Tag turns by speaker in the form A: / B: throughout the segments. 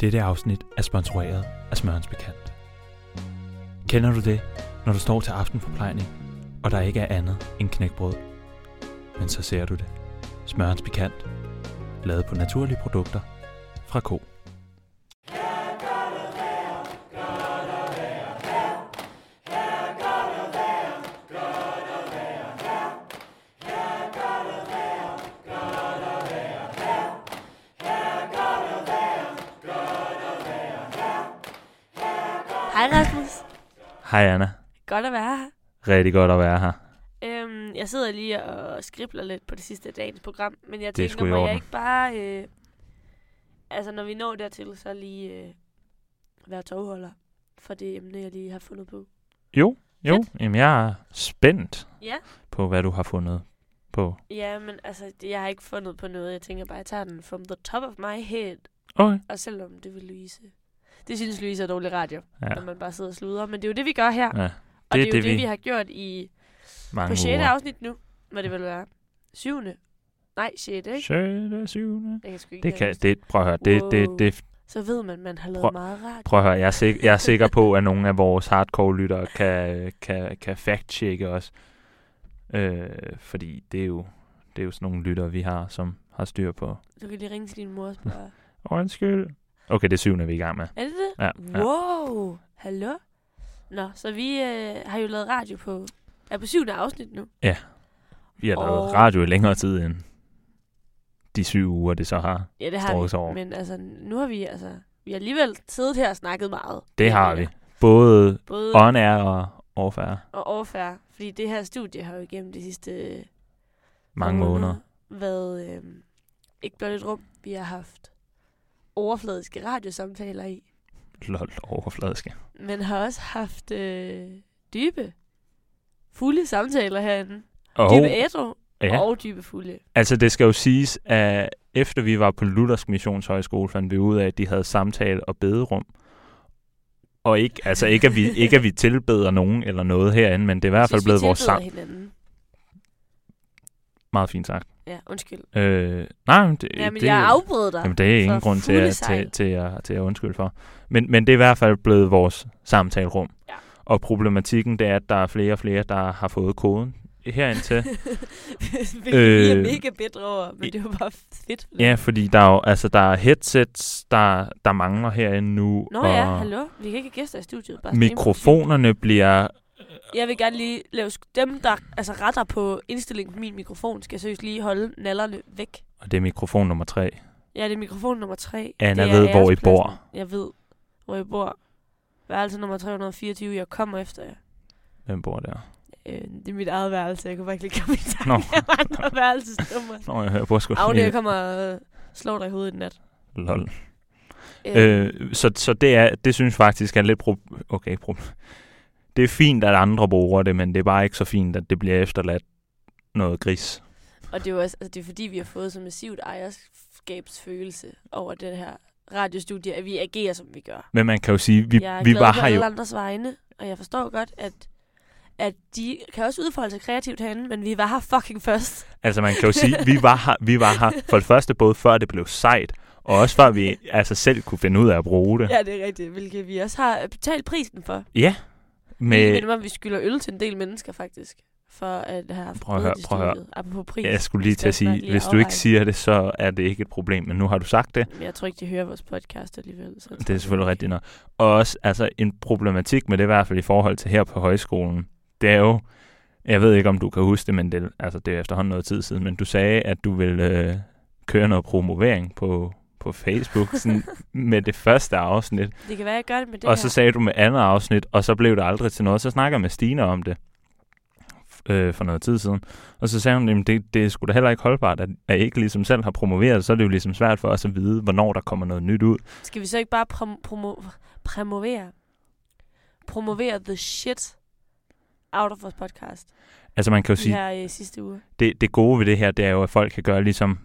A: Dette afsnit er sponsoreret af Smørens Bekant. Kender du det, når du står til aftenforplejning, og der ikke er andet end knækbrød? Men så ser du det. Smørens Bekant. Lavet på naturlige produkter fra K.
B: Hej Rasmus.
A: Hej Anna.
B: Godt at være her.
A: Rigtig godt at være her.
B: Øhm, jeg sidder lige og skribler lidt på det sidste af dagens program, men jeg
A: Det er sgu
B: tænker,
A: i
B: må jeg
A: orden.
B: ikke bare... Øh, altså, når vi når dertil, så lige øh, være tovholder for det emne, jeg lige har fundet på.
A: Jo, jo.
B: Fedt.
A: Jamen, jeg er spændt
B: Ja.
A: på, hvad du har fundet på.
B: Ja, men altså, det- jeg har ikke fundet på noget. Jeg tænker bare, jeg tager den from the top of my head.
A: Okay.
B: Og selvom det vil Louise... Det synes Louise er dårlig radio,
A: Ja.
B: ja. når man bare sidder og sluder. Men det er jo det, vi gør her.
A: Ja,
B: og det er jo det, vi... har gjort i...
A: mange
B: På 6.
A: uger.
B: afsnit nu, må det vel være. 7. Nej, 6. ikke?
A: Sjette, syvende.
B: Jeg kan sgu ikke
A: Det kan,
B: huske
A: det, prøv at høre, det, det,
B: Wow.
A: det,
B: så ved man, man har lavet
A: Prøv-
B: meget rart.
A: Prøv at høre, jeg er, sik- jeg er sikker på, at nogle af vores hardcore-lyttere kan, kan, kan fact-checke os. Øh, fordi det er, jo, det er jo sådan nogle lyttere, vi har, som har styr på.
B: Du kan lige ringe til din mor og spørge.
A: Undskyld. Okay, det syvende, vi er i gang med.
B: er det det?
A: Ja, ja.
B: Wow! Hallo? Nå, så vi øh, har jo lavet radio på... Er på syvende afsnit nu.
A: Vi har lavet
B: Og-
A: radio i længere tid end de syv uger, det så har.
B: Ja, det
A: Strået sig
B: har
A: over.
B: vi. Men altså, nu har vi altså... Vi har alligevel siddet her og snakket meget.
A: Det har
B: Ja,
A: vi. Både
B: Både
A: on-air og off-air.
B: og overfærd. Fordi det her studie har jo igennem de sidste øh,
A: Mange måneder.
B: været øh, ikke blot et rum, vi har haft overfladiske radiosamtaler i,
A: Lol, overfladiske.
B: men har også haft øh, dybe, fulde samtaler herinde.
A: Og,
B: Dybe ædru
A: ja.
B: og dybe fulde.
A: Altså, det skal jo siges, at efter vi var på Luthersk Missionshøjskole, fandt vi ud af, at de havde samtale og bederum. Og ikke, altså ikke at, vi, ikke at vi tilbeder nogen eller noget herinde, men det er i hvert fald blevet vores sam.
B: hinanden.
A: Meget fint sagt.
B: Ja, undskyld.
A: Øh, nej, men det,
B: Ja, men
A: det,
B: jeg afbrød dig.
A: jamen, det er ingen
B: for
A: grund til
B: fulde
A: at, til,
B: sejl.
A: til, at, til at undskylde for. Men, men det er i hvert fald blevet vores samtalerum.
B: Ja.
A: Og problematikken det er, at der er flere og flere, der har fået koden herind til.
B: Hvilket
A: Øh,
B: øh, er mega bedre over, men det var bare fedt.
A: ja, fordi der er, jo, altså, der er headsets, der, der mangler herinde nu.
B: Nå
A: og
B: ja, hallo. Vi kan ikke have gæster i studiet. Bare sådan
A: mikrofonerne bliver...
B: impulsivt. Jeg vil gerne lige lave... sk- Dem, der altså retter på indstillingen på min mikrofon, skal seriøst lige holde nallerne væk.
A: Og det er mikrofon nummer tre.
B: Ja, det er mikrofon nummer tre.
A: Anna
B: Det er
A: ved, hvor I
B: ærespladsen.
A: bor.
B: Jeg ved, hvor I bor. Værelse nummer 324, jeg kommer efter jer.
A: Hvem bor der?
B: Øh, det er mit eget værelse, jeg kunne bare ikke lige komme i tanke
A: Nå.
B: om andre værelsesnummer.
A: Nå, jeg hører på sgu
B: Agne,
A: lige-
B: jeg kommer og slår dig i hovedet i nat.
A: Lol. Øh, så, så det, er, det synes faktisk er lidt... Pro- okay, pro- det er fint, at andre bruger det, men det er bare ikke så fint, at det bliver efterladt noget gris.
B: Og det er jo også, altså, det er fordi, vi har fået så massivt ejerskabsfølelse over det her radiostudie, at vi agerer, som vi gør.
A: Men man kan jo sige, vi,
B: jeg er
A: vi
B: glad
A: var
B: på
A: her
B: alle
A: jo...
B: andres vegne, og jeg forstår godt, at at de kan også udfolde sig kreativt herinde, men vi var her fucking først.
A: Altså man kan jo sige, vi var her, vi var her for det første både før det blev sejt, og også før vi altså selv kunne finde ud af at bruge det.
B: Ja, det er rigtigt, hvilket vi også har betalt prisen for.
A: Ja.
B: Men...
A: Med,
B: Jeg mener, vi skylder øl til en del mennesker, faktisk, for at have haft
A: Prøv at
B: noget
A: høre,
B: i
A: prøv at høre.
B: studiet. Apropos pris.
A: Ja, Jeg skulle lige til at
B: skal snart
A: sige,
B: lige
A: hvis du ikke
B: afveje.
A: siger det, så er det ikke et problem, men nu har du sagt det.
B: Men jeg tror ikke, de hører vores podcast alligevel. Så
A: Det er selvfølgelig rigtigt nok. Og også altså, en problematik med det i hvert fald i forhold til her på højskolen, det er jo, jeg ved ikke om du kan huske det, men det, altså, det er efterhånden noget tid siden, men du sagde, at du ville øh, køre noget promovering på, på Facebook sådan, med det første afsnit,
B: Det kan være, jeg gør det med det
A: og
B: her.
A: så sagde du med andet afsnit, og så blev det aldrig til noget. Så snakker jeg med Stine om det øh, for noget tid siden, og så sagde hun, at det, det er sgu da heller ikke holdbart, at at I ikke ligesom selv har promoveret, så er det jo ligesom svært for os at vide, hvornår der kommer noget nyt ud.
B: Skal vi så ikke bare prom- promo- promovere? Promovere the shit out of vores podcast
A: Altså man kan jo
B: de
A: sige,
B: her øh, sidste uge.
A: det, det gode ved det her, det er jo, at folk kan gøre ligesom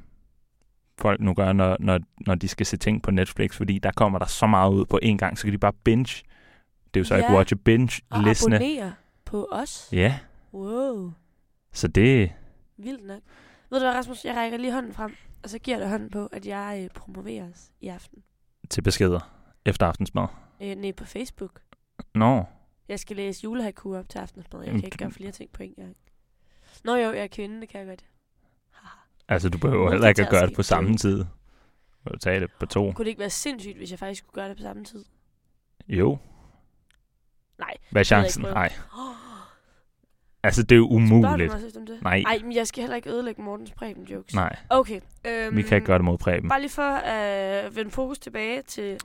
A: folk nu gør, når, når, når de skal se ting på Netflix, fordi der kommer der så meget ud på én gang, så kan de bare binge. Det er jo så
B: Ja.
A: ikke watch, binge,
B: Og
A: listene.
B: abonnere på os.
A: Ja,
B: Wow.
A: så det,
B: Vildt nok. Ved du hvad, Rasmus? Jeg rækker lige hånden frem, og så giver jeg dig hånden på, at jeg øh, promoverer os i aften.
A: til beskeder efter aftensmad?
B: Øh, nej, på Facebook.
A: Nå,
B: Jeg skal læse julehaiku op til aftensmad. Jeg
A: Jamen,
B: kan ikke
A: du-
B: gøre flere ting på en gang. Nå jo, jeg er kvinde, det kan jeg godt. Haha.
A: altså du behøver heller ikke at gøre det på
B: Multitasking.
A: samme tid. Du kan tage det på to.
B: Kunne det ikke være sindssygt, hvis jeg faktisk skulle gøre det på samme tid?
A: Jo.
B: Nej,
A: Hvad er
B: jeg
A: chancen?
B: prøve.
A: Nej.
B: Oh,
A: Altså, det er jo
B: Spørger du
A: umuligt.
B: mig også om det?
A: Nej.
B: Ej, men jeg skal heller ikke ødelægge Mortens Preben jokes.
A: Nej,
B: Okay. Øhm,
A: vi kan ikke gøre det mod Preben.
B: Bare lige for at øh, vende fokus tilbage til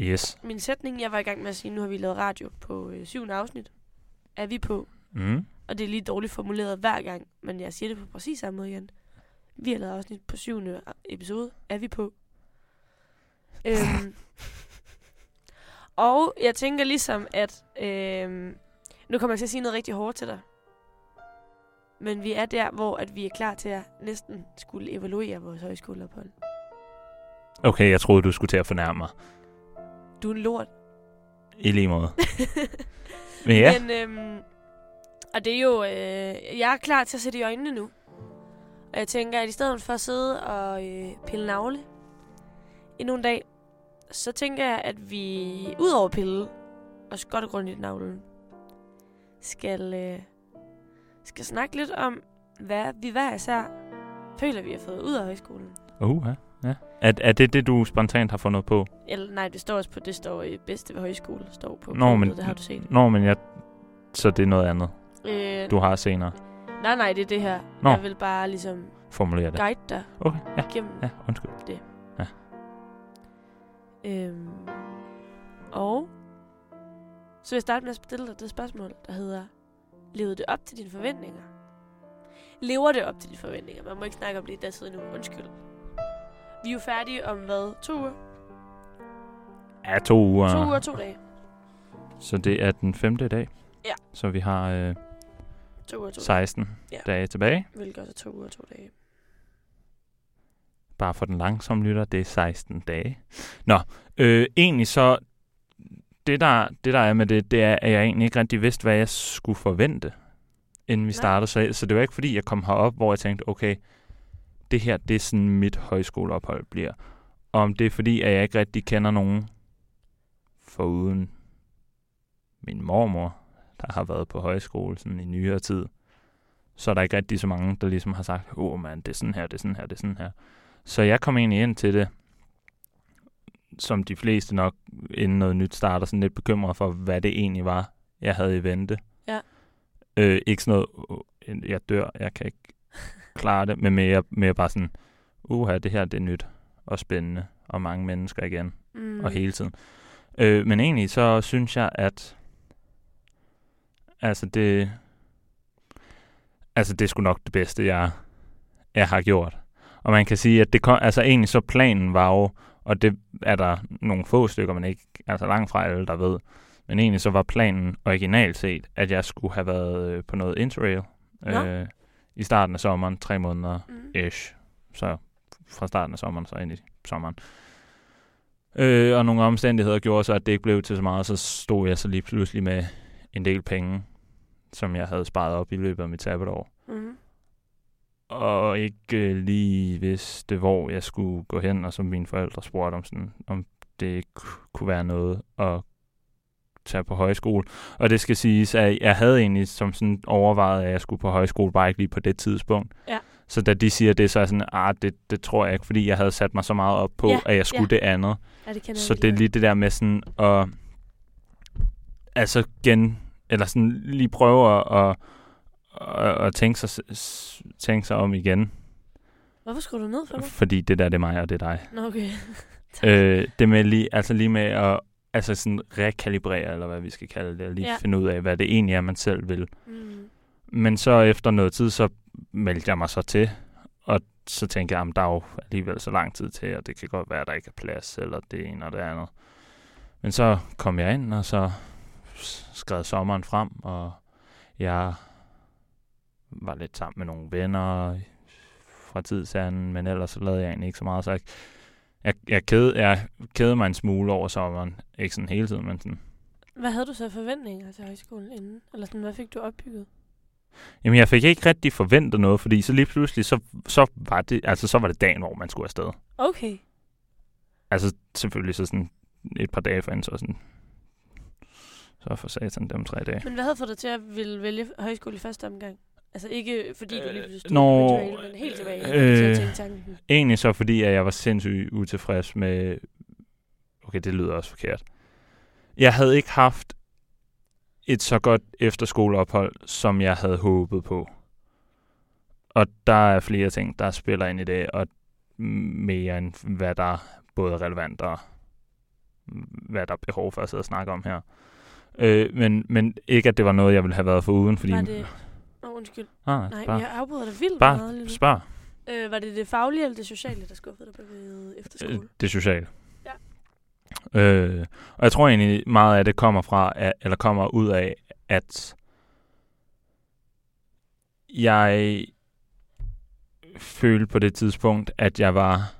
A: Yes.
B: min sætning. Jeg var i gang med at sige, nu har vi lavet radio på øh, syvende afsnit. Er vi på?
A: Mm.
B: Og det er lige dårligt formuleret hver gang, men jeg siger det på præcis samme måde igen. Vi har lavet afsnit på syvende episode. Er vi på? Øhm, og jeg tænker ligesom, at... Øhm, nu kommer jeg til at sige noget rigtig hårdt til dig. Men vi er der, hvor at vi er klar til at næsten skulle evaluere vores højskoleophold.
A: Okay, jeg troede, du skulle til at fornærme mig.
B: Du er en lort.
A: I lige måde. Men ja,
B: Men, øhm, og det er jo... Øh, jeg er klar til at sætte i øjnene nu. Og jeg tænker, at i stedet for at sidde og øh, pille navle endnu en dag, så tænker jeg, at vi ud over at pille, og godt og grundigt navlen, skal, øh, skal snakke lidt om, hvad vi hver især føler, vi har fået ud af højskolen.
A: uh, ja. Er, er det det, du spontant har fundet på?
B: Eller nej, det står også på, det står i bedste ved højskole, står på.
A: Nå, men-
B: Det har du set.
A: Nå, men jeg... Så det er noget andet,
B: Øh,
A: du har senere
B: Nej, nej, det er det her.
A: Nå.
B: Jeg vil bare ligesom
A: formuleret det.
B: guide dig
A: Okay, ja,
B: igennem.
A: ja, undskyld.
B: Øhm, og så vil jeg starte med at stille dig det spørgsmål, der hedder, levede det op til dine forventninger? Lever det op til dine forventninger? Man må ikke snakke om det i dag siden nu. Undskyld. Vi er jo færdige om hvad? To uger?
A: Ja, to uger.
B: To uger, to dage.
A: Så det er den femte i dag.
B: Ja.
A: Så vi har øh,
B: To uger, to dage.
A: 16
B: Ja.
A: dage tilbage.
B: Hvilket også er to uger, to dage.
A: Bare for den langsomme lytter, det er 16 dage. Nå, øh, egentlig så... Det der, det der er med det, det er, at jeg egentlig ikke rigtig vidste, hvad jeg skulle forvente, inden vi
B: Nej.
A: startede. Så, så det var ikke fordi, jeg kom herop, hvor jeg tænkte, okay, det her, det er sådan mit højskoleophold bliver. Og om det er fordi, at jeg ikke rigtig kender nogen foruden min mormor, der har været på højskole sådan i nyere tid, så er der ikke rigtig så mange, der ligesom har sagt, åh oh, mand, det er sådan her, det er sådan her, det er sådan her. Så jeg kom egentlig ind til det, som de fleste nok inden noget nyt starter, sådan lidt bekymret for, hvad det egentlig var, jeg havde i vente.
B: Ja.
A: Øh, ikke sådan noget, "Åh, jeg dør, jeg kan ikke klare det, men mere, mere bare sådan, uha, det her det er nyt og spændende, og mange mennesker igen
B: Mm.
A: og hele tiden. Øh, men egentlig så synes jeg, at altså det altså det er sgu nok det bedste, jeg, jeg har gjort. Og man kan sige, at det kom, altså egentlig så planen var jo, og det er der nogle få stykker, man ikke, altså langt fra alle, der ved, men egentlig så var planen originalt set, at jeg skulle have været øh, på noget interrail
B: Nå.
A: øh, i starten af sommeren, tre måneder
B: Mm.
A: ish. Så fra starten af sommeren, så ind i sommeren. Øh, og nogle omstændigheder gjorde så, at det ikke blev til så meget, og så stod jeg så lige pludselig med en del penge, som jeg havde sparet op i løbet af mit sabbatår.
B: Mm.
A: Og ikke øh, lige vidste, hvor jeg skulle gå hen, og som mine forældre spurgte om, sådan, om det ikke ku- kunne være noget at tage på højskole. Og det skal siges, at jeg havde egentlig som sådan overvejet, at jeg skulle på højskole, bare ikke lige på det tidspunkt.
B: Ja.
A: Så da de siger det, så er jeg sådan, ah, det, det tror jeg ikke, fordi jeg havde sat mig så meget op på,
B: Ja,
A: at jeg skulle det andet.
B: Ja, det kender
A: Så
B: jeg
A: det er lige det der med sådan at altså gen, eller sådan lige prøve at, at, at, at tænke, sig, s- tænke sig om igen,
B: Hvorfor skulle du ned for mig?
A: fordi det der det er mig, og det er dig.
B: Nå, okay.
A: Øh, det med lige, altså lige med at altså sådan rekalibrere, eller hvad vi skal kalde det, og lige
B: Ja.
A: ja. finde ud af, hvad det egentlig er, man selv vil.
B: Mm.
A: Men så efter noget tid, så meldte jeg mig så til, og så tænkte jeg, at der er jo alligevel så lang tid til, og det kan godt være, at der ikke er plads, eller det ene og det andet. Men så kom jeg ind, og så s- skred sommeren frem, og jeg var lidt sammen med nogle venner fra tidsanden, men ellers så lavede jeg egentlig ikke så meget, så jeg, jeg, jeg, kede, jeg kede mig en smule over sommeren. Ikke sådan hele tiden, men sådan
B: Hvad havde du så af forventninger til højskolen inden? Eller sådan, hvad fik du opbygget?
A: Jamen, jeg fik ikke rigtig forventet noget, fordi så lige pludselig, så, så, var, det, altså, så var det dagen, hvor man skulle afsted.
B: Okay.
A: Altså selvfølgelig så sådan et par dage for hende, så sådan, så for satan dem tre dage.
B: Men hvad havde fået dig til at ville vælge højskole i første omgang? Altså ikke fordi du lige pludselig stod
A: nå,
B: på trail, men helt tilbage
A: øh,
B: øh, til at tænke tanken.
A: Egentlig så fordi, at jeg var sindssygt utilfreds med... Okay, det lyder også forkert. Jeg havde ikke haft et så godt efterskoleophold, som jeg havde håbet på. Og der er flere ting, der spiller ind i det, og mere end hvad der både er relevant og hvad der er behov for at sidde og snakke om her. Øh, men, men ikke, at det var noget, jeg ville have været for uden, fordi...
B: Var det... Nå, undskyld.
A: Ah,
B: Nej,
A: bare,
B: jeg afbryder dig vildt
A: bare
B: meget. lige nu.
A: spørg.
B: Øh, var det det faglige eller det sociale, der skuffede dig ved efterskole?
A: Øh,
B: Øh.
A: det sociale. Ja. Øh, og jeg tror egentlig meget af det kommer fra, at, eller kommer ud af, at jeg følte på det tidspunkt, at jeg var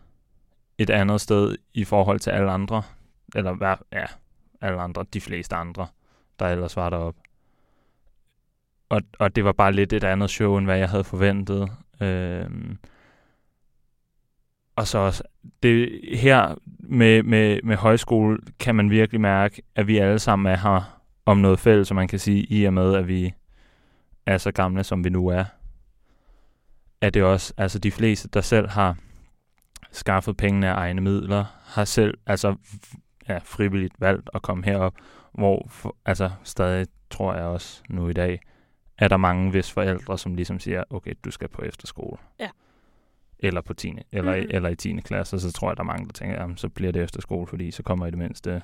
A: et andet sted i forhold til alle andre. Eller hvad, ja, alle andre, de fleste andre, der ellers var deroppe. Og, og det var bare lidt et andet show, end hvad jeg havde forventet. Øhm, og så også det her med, med, med højskole, kan man virkelig mærke, at vi alle sammen er her om noget fælles, som man kan sige, i og med, at vi er så gamle, som vi nu er. Er det også, altså de fleste, der selv har skaffet pengene af egne midler, har selv, altså f- ja, frivilligt valgt at komme herop, hvor, for, altså stadig tror jeg også nu i dag, er der mange, hvis forældre, som ligesom siger, okay, du skal på efterskole eller på 10. Eller, mm.
B: Mhm.
A: eller i 10. klasse, så tror jeg, der er mange, der tænker, jamen, så bliver det efter skole, fordi så kommer i det mindste...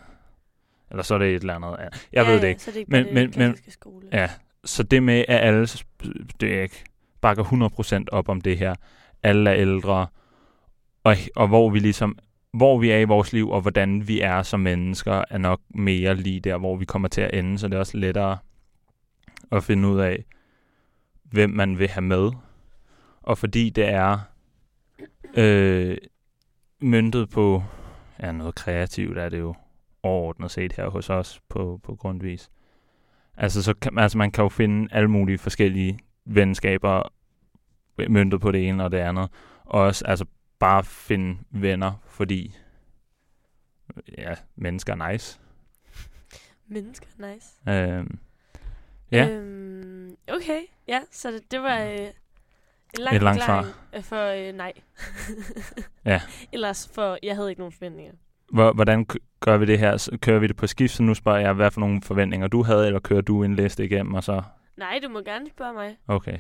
A: Eller så er det et eller andet. ja. Jeg ja, ved det ikke.
B: Så det er ikke
A: Men- men-
B: men, men,
A: men-
B: klassiske skole.
A: Ja. Så det med, at alle sp- det er ikke, bakker 100% op om det her, alle er ældre, og, og hvor vi ligesom hvor vi er i vores liv, og hvordan vi er som mennesker, er nok mere lige der, hvor vi kommer til at ende, så det er også lettere at finde ud af, hvem man vil have med. Og fordi det er øh, myntet på ja, noget kreativt, er det jo overordnet set her hos os på, på grundvis. Altså, så kan, altså, man kan jo finde alle mulige forskellige venskaber møntet på det ene og det andet. Og også altså, bare finde venner, fordi ja, mennesker er nice.
B: Mennesker, nice.
A: Øhm, ja, øh,
B: Øhm, okay, ja, så det, det var øh, en lang,
A: Et langt
B: forklaring, øh, for øh, nej.
A: Ja.
B: Ellers for, jeg havde ikke nogen forventninger.
A: hvordan k- gør vi det her? Så kører vi det på skift, så nu spørger jeg, hvad for nogle forventninger du havde, eller kører du en liste igennem, og så,
B: Nej, du må gerne spørge mig.
A: okay.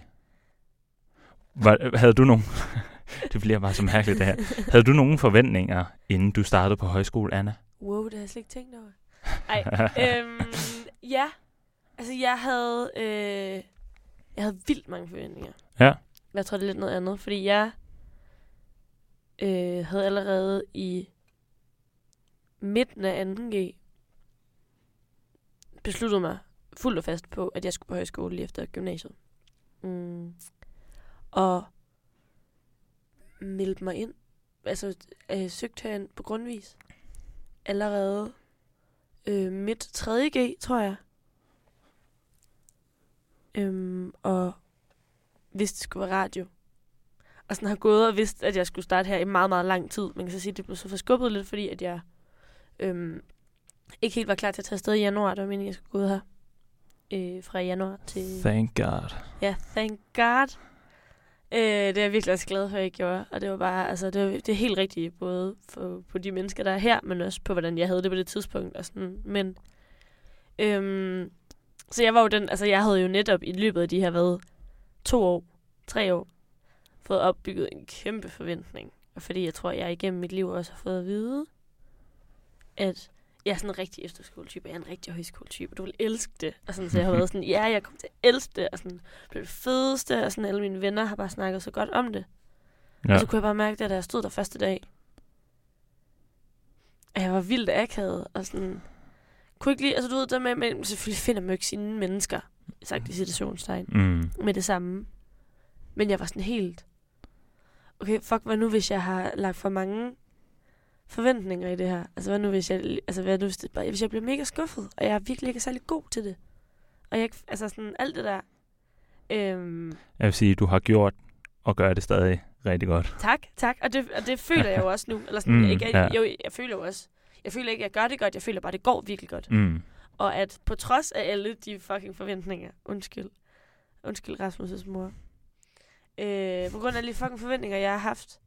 A: Var, havde du nogen... det bliver bare så mærkeligt, det her. Havde du nogen forventninger, inden du startede på højskole, Anna?
B: Wow, det har jeg slet ikke tænkt over. Ej, øhm, ja. Altså, jeg havde, øh, jeg havde vildt mange forventninger.
A: Ja.
B: Men Jeg tror, det er lidt noget andet, fordi jeg øh, havde allerede i midten af 2G besluttet mig fuldt og fast på, at jeg skulle på højskole lige efter gymnasiet. Mm. Og meldte mig ind. Altså, øh, søgte herind på grundvis. Allerede øh, midt 3.G, tror jeg. Øhm, og vidste, det skulle være radio. Og sådan har gået og vidst, at jeg skulle starte her i meget, meget lang tid. Man kan så sige, at det blev så forskubbet lidt, fordi at jeg øhm, ikke helt var klar til at tage afsted i januar. Det var meningen, at jeg skulle gå ud her øh, fra januar til...
A: Thank God.
B: Ja, thank God. Øh, det er jeg virkelig også glad for, at jeg gjorde. Og det var bare, altså, det, var, det er helt rigtigt, både for, på de mennesker, der er her, men også på, hvordan jeg havde det på det tidspunkt. Og sådan. Men, øhm, så jeg var jo den, altså jeg havde jo netop i løbet af de her, hvad, to år, tre år, fået opbygget en kæmpe forventning. Og fordi jeg tror, jeg igennem mit liv også har fået at vide, at jeg er sådan en rigtig efterskoletype, jeg er en rigtig højskoletype, du vil elske det. Og sådan, så jeg har været sådan, ja, jeg kommer til at elske det, og sådan, det er det fedeste, og sådan alle mine venner har bare snakket så godt om det. Ja.
A: Ja.
B: Og så kunne jeg bare mærke det, da jeg stod der første dag. At jeg var vildt akavet, og sådan... Kunne ikke lige, altså du ved, der med, men selvfølgelig finder man jo ikke sine mennesker, sagt i situationstegn,
A: Mm.
B: med det samme. Men jeg var sådan helt... Okay, fuck, hvad nu, hvis jeg har lagt for mange forventninger i det her? Altså, hvad nu, hvis jeg, altså, hvad nu, hvis, det, bare- hvis jeg bliver mega skuffet, og jeg virkelig ikke er særlig god til det? Og jeg, ikke- altså sådan, alt det der... Øhm,
A: Jeg vil sige, du har gjort og gør det stadig rigtig godt.
B: Tak, tak. Og det, og det føler jeg jo også nu. Eller sådan,
A: Mm,
B: mm, ikke, jeg,
A: ja.
B: jo, jeg føler jo også. Jeg føler ikke, jeg gør det godt. Jeg føler bare, det går virkelig godt.
A: Mm.
B: Og at på trods af alle de fucking forventninger, undskyld, undskyld Rasmus' mor, øh, på grund af alle de fucking forventninger, jeg har haft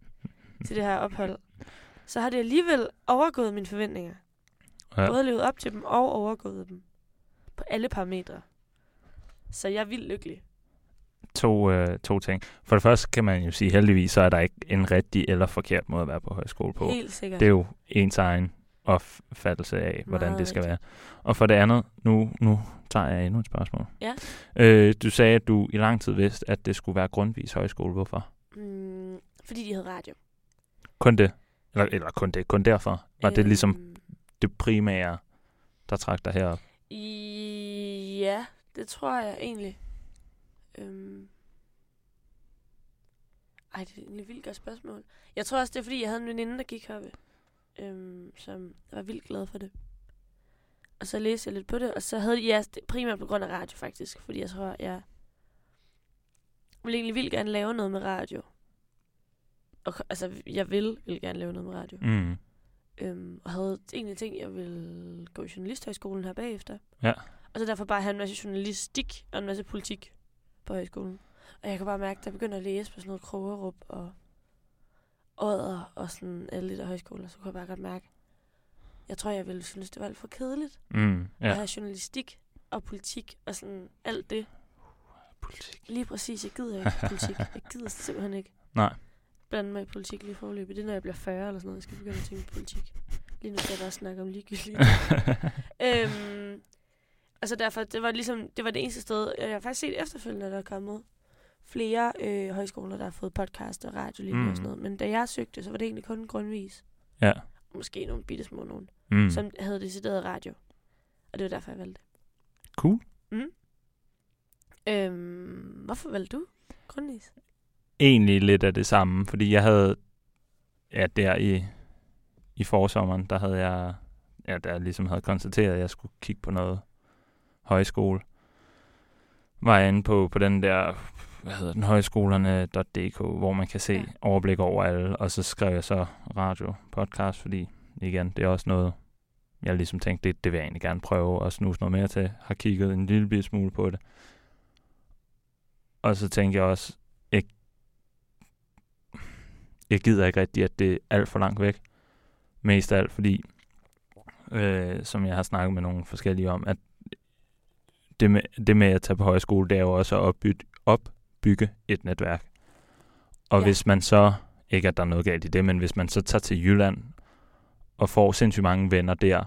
B: til det her ophold, så har det alligevel overgået mine forventninger.
A: Ja.
B: Ja. Både levet op til dem og overgået dem. På alle parametre. Så jeg er vildt lykkelig.
A: To, øh, to ting. For det første kan man jo sige, heldigvis så er der ikke en rigtig eller forkert måde at være på højskole på.
B: Helt sikkert.
A: Det er jo ens egen opfattelse af, hvordan
B: Meget
A: det skal være.
B: rigtigt.
A: Og for det andet, nu, nu tager jeg endnu et spørgsmål.
B: Ja.
A: Øh, du sagde, at du i lang tid vidste, at det skulle være Grundtvigs Højskole. Hvorfor?
B: Mm, fordi de havde radio.
A: Kun det? Eller, eller kun det? Kun derfor? Var det ligesom
B: Øhm,
A: det primære, der trak dig herop?
B: I- Ja, det tror jeg egentlig. Øhm. Ej, det er egentlig et vildt godt spørgsmål. Jeg tror også, det er fordi, jeg havde en veninde, der gik heroppe, øhm, som var vildt glad for det. Og så læste jeg lidt på det, og så havde jeg ja, det er primært på grund af radio faktisk, fordi jeg tror, jeg ville egentlig vildt gerne lave noget med radio. Og, altså, jeg vil, vil gerne lave noget med radio.
A: Mm.
B: Øhm, og havde egentlig ting, jeg ville gå i journalisthøjskolen her bagefter.
A: Ja.
B: Og så derfor bare have en masse journalistik og en masse politik på højskolen. Og jeg kan bare mærke, at jeg begynder at læse på sådan noget Krogerup og Odder og sådan alle de der højskoler. Så kunne jeg bare godt mærke, jeg tror, jeg ville synes, det var alt for kedeligt
A: Mm.
B: ja. at
A: Ja.
B: have journalistik og politik og sådan alt det.
A: Politik.
B: Lige præcis, jeg gider ikke politik. Jeg gider simpelthen ikke
A: Nej.
B: blande mig i politik lige forløb. Det er, når jeg bliver 40 eller sådan noget, jeg skal begynde at tænke på politik. Lige nu skal jeg bare snakke om ligegyldigt. øhm, altså derfor, det var ligesom, det var det eneste sted, jeg har faktisk set efterfølgende, at der er kommet flere øh, højskoler, der har fået podcast og radiolinjer mm.
A: Mm.
B: og sådan noget. Men da jeg søgte, så var det egentlig kun grundvis.
A: Ja.
B: Måske nogle bitte små nogen,
A: Mm.
B: mm. som havde decideret radio. Og det var derfor, jeg valgte.
A: Cool.
B: Mm. Øhm, hvorfor valgte du grundvis?
A: Egentlig lidt af det samme, fordi jeg havde, ja, der i, i forsommeren, der havde jeg, ja, der ligesom havde konstateret, at jeg skulle kigge på noget højskole. Var jeg inde på, på den der, hvad hedder den, højskolerne.dk, hvor man kan se
B: Ja.
A: ja. overblik over alle, og så skrev jeg så radio, podcast, fordi igen, det er også noget, jeg ligesom tænkte, det, det vil jeg egentlig gerne prøve at snuse noget mere til. Har kigget en lille bitte smule på det. Og så tænkte jeg også, jeg, jeg gider ikke rigtig, at det er alt for langt væk. Mest af alt, fordi, øh, som jeg har snakket med nogle forskellige om, at det med, det med at tage på højskole, det er jo også at opbygge, opbygge et netværk. Og
B: Ja.
A: ja. hvis man så, ikke at der er noget galt i det, men hvis man så tager til Jylland og får sindssygt mange venner der,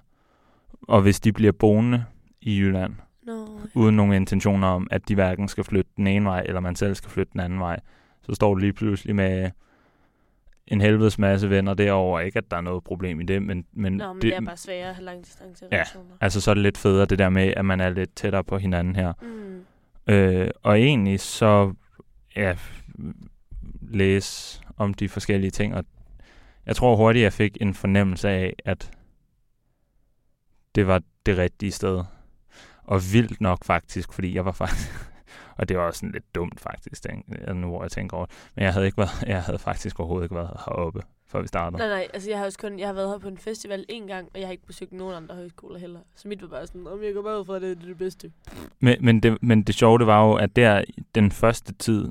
A: og hvis de bliver boende i Jylland,
B: Nå,
A: uden nogen intentioner om, at de hverken skal flytte den ene vej, eller man selv skal flytte den anden vej, så står du lige pludselig med en helvedes masse venner derovre. Ikke, at der er noget problem i det, men, men,
B: Nå, men
A: det,
B: det, det er bare sværere at have langdistance
A: Ja.
B: relationer.
A: altså, så er det lidt federe det der med, at man er lidt tættere på hinanden her.
B: Mm.
A: Øh, og egentlig så ja, læse om de forskellige ting, og jeg tror hurtigt, jeg fik en fornemmelse af, at det var det rigtige sted. Og vildt nok faktisk, fordi jeg var faktisk... Og det var også sådan lidt dumt faktisk, tænk, nu hvor jeg tænker over det. Men jeg havde, ikke været, jeg havde faktisk overhovedet ikke været heroppe, før vi startede.
B: Nej, nej, altså jeg har også kun, jeg har været her på en festival en gang, og jeg har ikke besøgt nogen andre højskoler heller. Så mit var bare sådan, om jeg går bare ud fra, at det er det bedste.
A: Men, men, det, men det sjove, det var jo, at der i den første tid,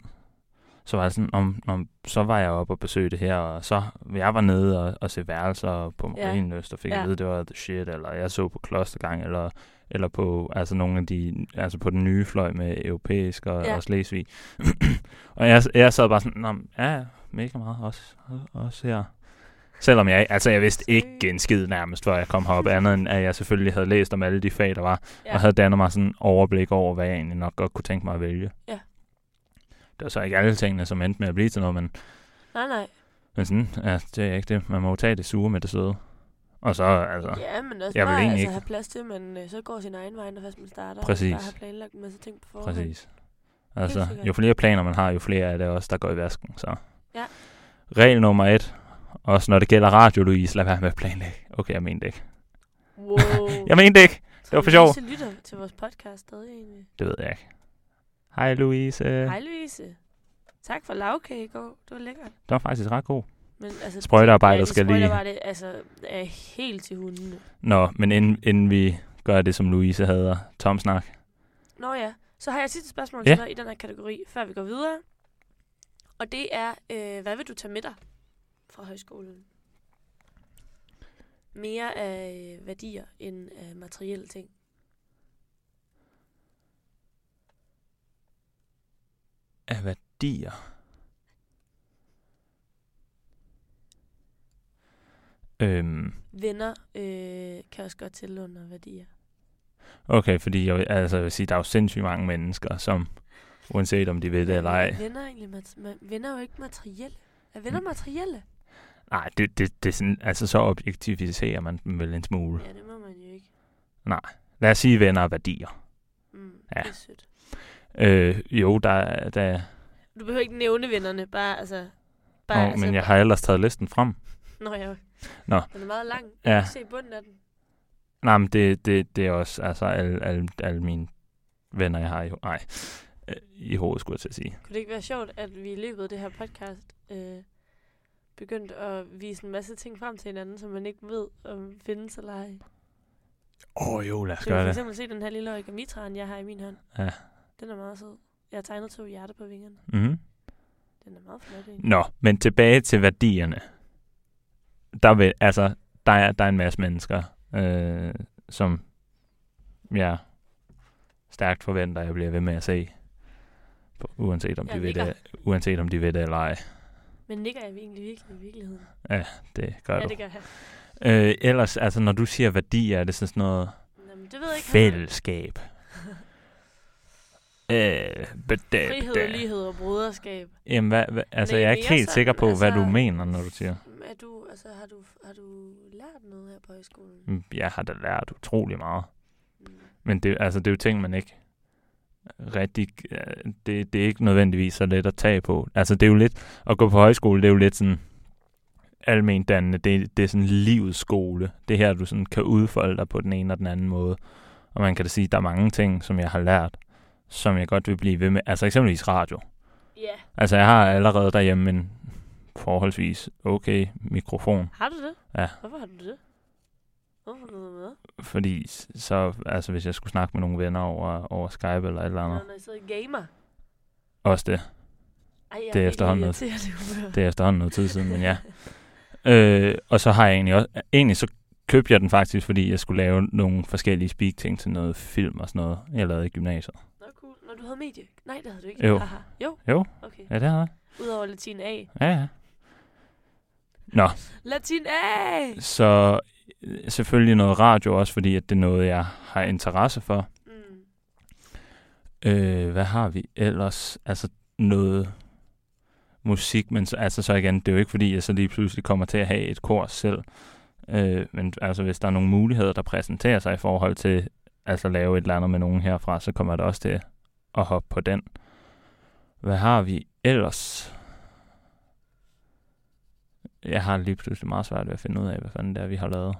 A: så var jeg sådan, om, om, så var jeg oppe og besøgte det her, og så jeg var nede og, og se værelser på
B: Ja.
A: Marienøst, og fik
B: Ja.
A: at vide, det var the shit, eller jeg så på Klostergang, eller, eller på, altså nogle af de, altså på den nye fløj med europæisk og,
B: Ja.
A: ja. og Slesvig. og jeg, jeg sad bare sådan, Nå, men ja, ja, mega meget, også, også her. Selvom jeg, altså jeg vidste ikke en skid nærmest, før jeg kom herop, andet end at jeg selvfølgelig havde læst om alle de fag, der var,
B: Ja.
A: og havde dannet mig sådan en overblik over, hvad jeg egentlig nok godt kunne tænke mig at vælge.
B: Ja.
A: Det var så ikke alle tingene, som endte med at blive til noget, men,
B: Nej, nej.
A: men sådan, ja, det er ikke det. Man må jo tage det sure med det søde. Og så, altså, ja.
B: Ja, men også
A: Jeg vil
B: bare
A: egentlig
B: altså,
A: ikke.
B: have plads til, at man øh, så går sin egen vej, når først man starter.
A: Præcis.
B: Og bare har planlagt en masse ting på forhånd.
A: præcis. Altså,
B: sikkert.
A: jo flere planer man har, jo flere er det også, der går i vasken. Så.
B: Ja.
A: Regel nummer et, også når det gælder radio, Louise, lad være med at planlægge. Okay, jeg mente det ikke.
B: Wow.
A: Jeg mente det ikke! var for sjov.
B: Louise lytter til vores podcast stadig egentlig.
A: Det ved jeg ikke. Hej Louise.
B: Hej Louise. Tak for lavkage i går. Det var lækkert.
A: Den var faktisk ret god.
B: Men altså,
A: Sprøjtearbejder
B: ja,
A: skal lige...
B: det altså, er helt til hundene.
A: Nå, men inden, inden vi gør det, som Louise hader, tom snak.
B: Nå ja, så har jeg et sidste spørgsmål
A: Ja.
B: til dig i den her kategori, før vi går videre. Og det er, øh, hvad vil du tage med dig fra højskolen? Mere af øh, værdier end af materielle ting.
A: Af værdier. Øhm,
B: Venner øh, kan også godt tælle under værdier.
A: okay, fordi jeg, vil- altså, jeg vil sige, der er jo sindssygt mange mennesker, som uanset om de ved det eller ej,
B: Er øh, Venner, er egentlig, mat- ma- venner er jo ikke materielle. Er venner
A: Mm.
B: materielle?
A: Nej, det, det, det er sådan, altså så objektiviserer man dem vel en smule.
B: Ja, det må man jo ikke.
A: Lad os sige venner og værdier.
B: Mm,
A: Ja.
B: ja. Det er sødt.
A: Øh, jo, der, er- der
B: Du behøver ikke nævne vennerne, bare altså...
A: Bare, Nå,
B: altså,
A: men jeg har ellers taget listen frem.
B: Nå, ja.
A: Nå.
B: Den er meget lang.
A: Ja.
B: Jeg kan ikke se bunden af den.
A: Nej, men det, det, det er også altså alle, alle, alle mine venner, jeg har i, ho- nej, øh, i hovedet, skulle jeg til at sige.
B: Kunne det ikke være sjovt, at vi i løbet af det her podcast øh, begyndte at vise en masse ting frem til hinanden, som man ikke ved, om findes eller ej?
A: Åh oh, jo, lad os
B: Så kan
A: gøre
B: for
A: det.
B: eksempel se den her lille origami-træn, jeg har i min hånd.
A: Ja.
B: Den er meget sød. Jeg har tegnet to hjerter på vingerne.
A: Mm-hmm.
B: Den er meget flot, ikke?
A: Nå, men tilbage til værdierne. Der, vil, altså, der, er, der er en masse mennesker, øh, som jeg stærkt forventer, at jeg bliver ved med at se. På- Uanset om,
B: Jeg
A: de ved
B: nikker.
A: det, uanset om de ved det eller ej.
B: Men nikker jeg egentlig virkelig i virkeligheden?
A: Det gør
B: Ja,
A: du.
B: det gør jeg.
A: Øh, ellers, altså, når du siger værdier, er det så sådan noget
B: Jamen, det ved jeg ikke.
A: fællesskab. øh, bedab,
B: Frihed, lighed og broderskab.
A: Jamen, hvad, hvad, altså,
B: Men
A: jeg er
B: mere
A: ikke helt sikker
B: sådan,
A: på, hvad du
B: altså-
A: mener, når du siger.
B: Er du, altså, har, du, har du lært noget her på højskolen?
A: "Mm, Jeg har da lært utrolig meget.
B: Mm.
A: Men det, altså, det er jo ting, man ikke rigtig... øh, Det, det er ikke nødvendigvis så let at tage på. Altså, det er jo lidt... At gå på højskole, det er jo lidt sådan almendannende. Det, det er sådan livets skole. Det er her, du sådan kan udfolde dig på den ene og den anden måde. Og man kan da sige, at der er mange ting, som jeg har lært, som jeg godt vil blive ved med. Altså eksempelvis radio.
B: Ja.
A: Altså, jeg har allerede derhjemme en forholdsvis okay mikrofon.
B: Har du det?
A: Ja.
B: Hvorfor har du det? Hvorfor har du noget med?
A: Fordi s- så, altså, hvis jeg skulle snakke med nogle venner over, over Skype eller et eller andet.
B: Nå, når jeg sidder og gamer.
A: Også det.
B: Ej, jeg
A: Det er efterhånden noget.
B: noget. Det er
A: Det er efterhånden noget tid siden, men ja. Øh, og så har jeg egentlig også... Egentlig så købte jeg den faktisk, fordi jeg skulle lave nogle forskellige speak-ting til noget film og sådan noget, jeg lavede i gymnasiet.
B: Nå, cool. Når du havde medie? Nej, det havde du ikke.
A: Jo.
B: Aha. Jo?
A: Jo.
B: Okay.
A: Ja, det havde jeg.
B: Udover latin A.
A: Ja, ja.
B: Latin A!
A: Så øh, selvfølgelig noget radio også, fordi at det er noget, jeg har interesse for.
B: Mm.
A: Øh, hvad har vi ellers? Altså noget musik, men så, altså så igen, det er jo ikke fordi, jeg så lige pludselig kommer til at have et kor selv. Øh, men altså hvis der er nogle muligheder, der præsenterer sig i forhold til altså lave et eller andet med nogen herfra, så kommer jeg da også til at hoppe på den. Hvad har vi ellers? Jeg har lige pludselig meget svært ved at finde ud af, hvad fanden det er, vi har lavet.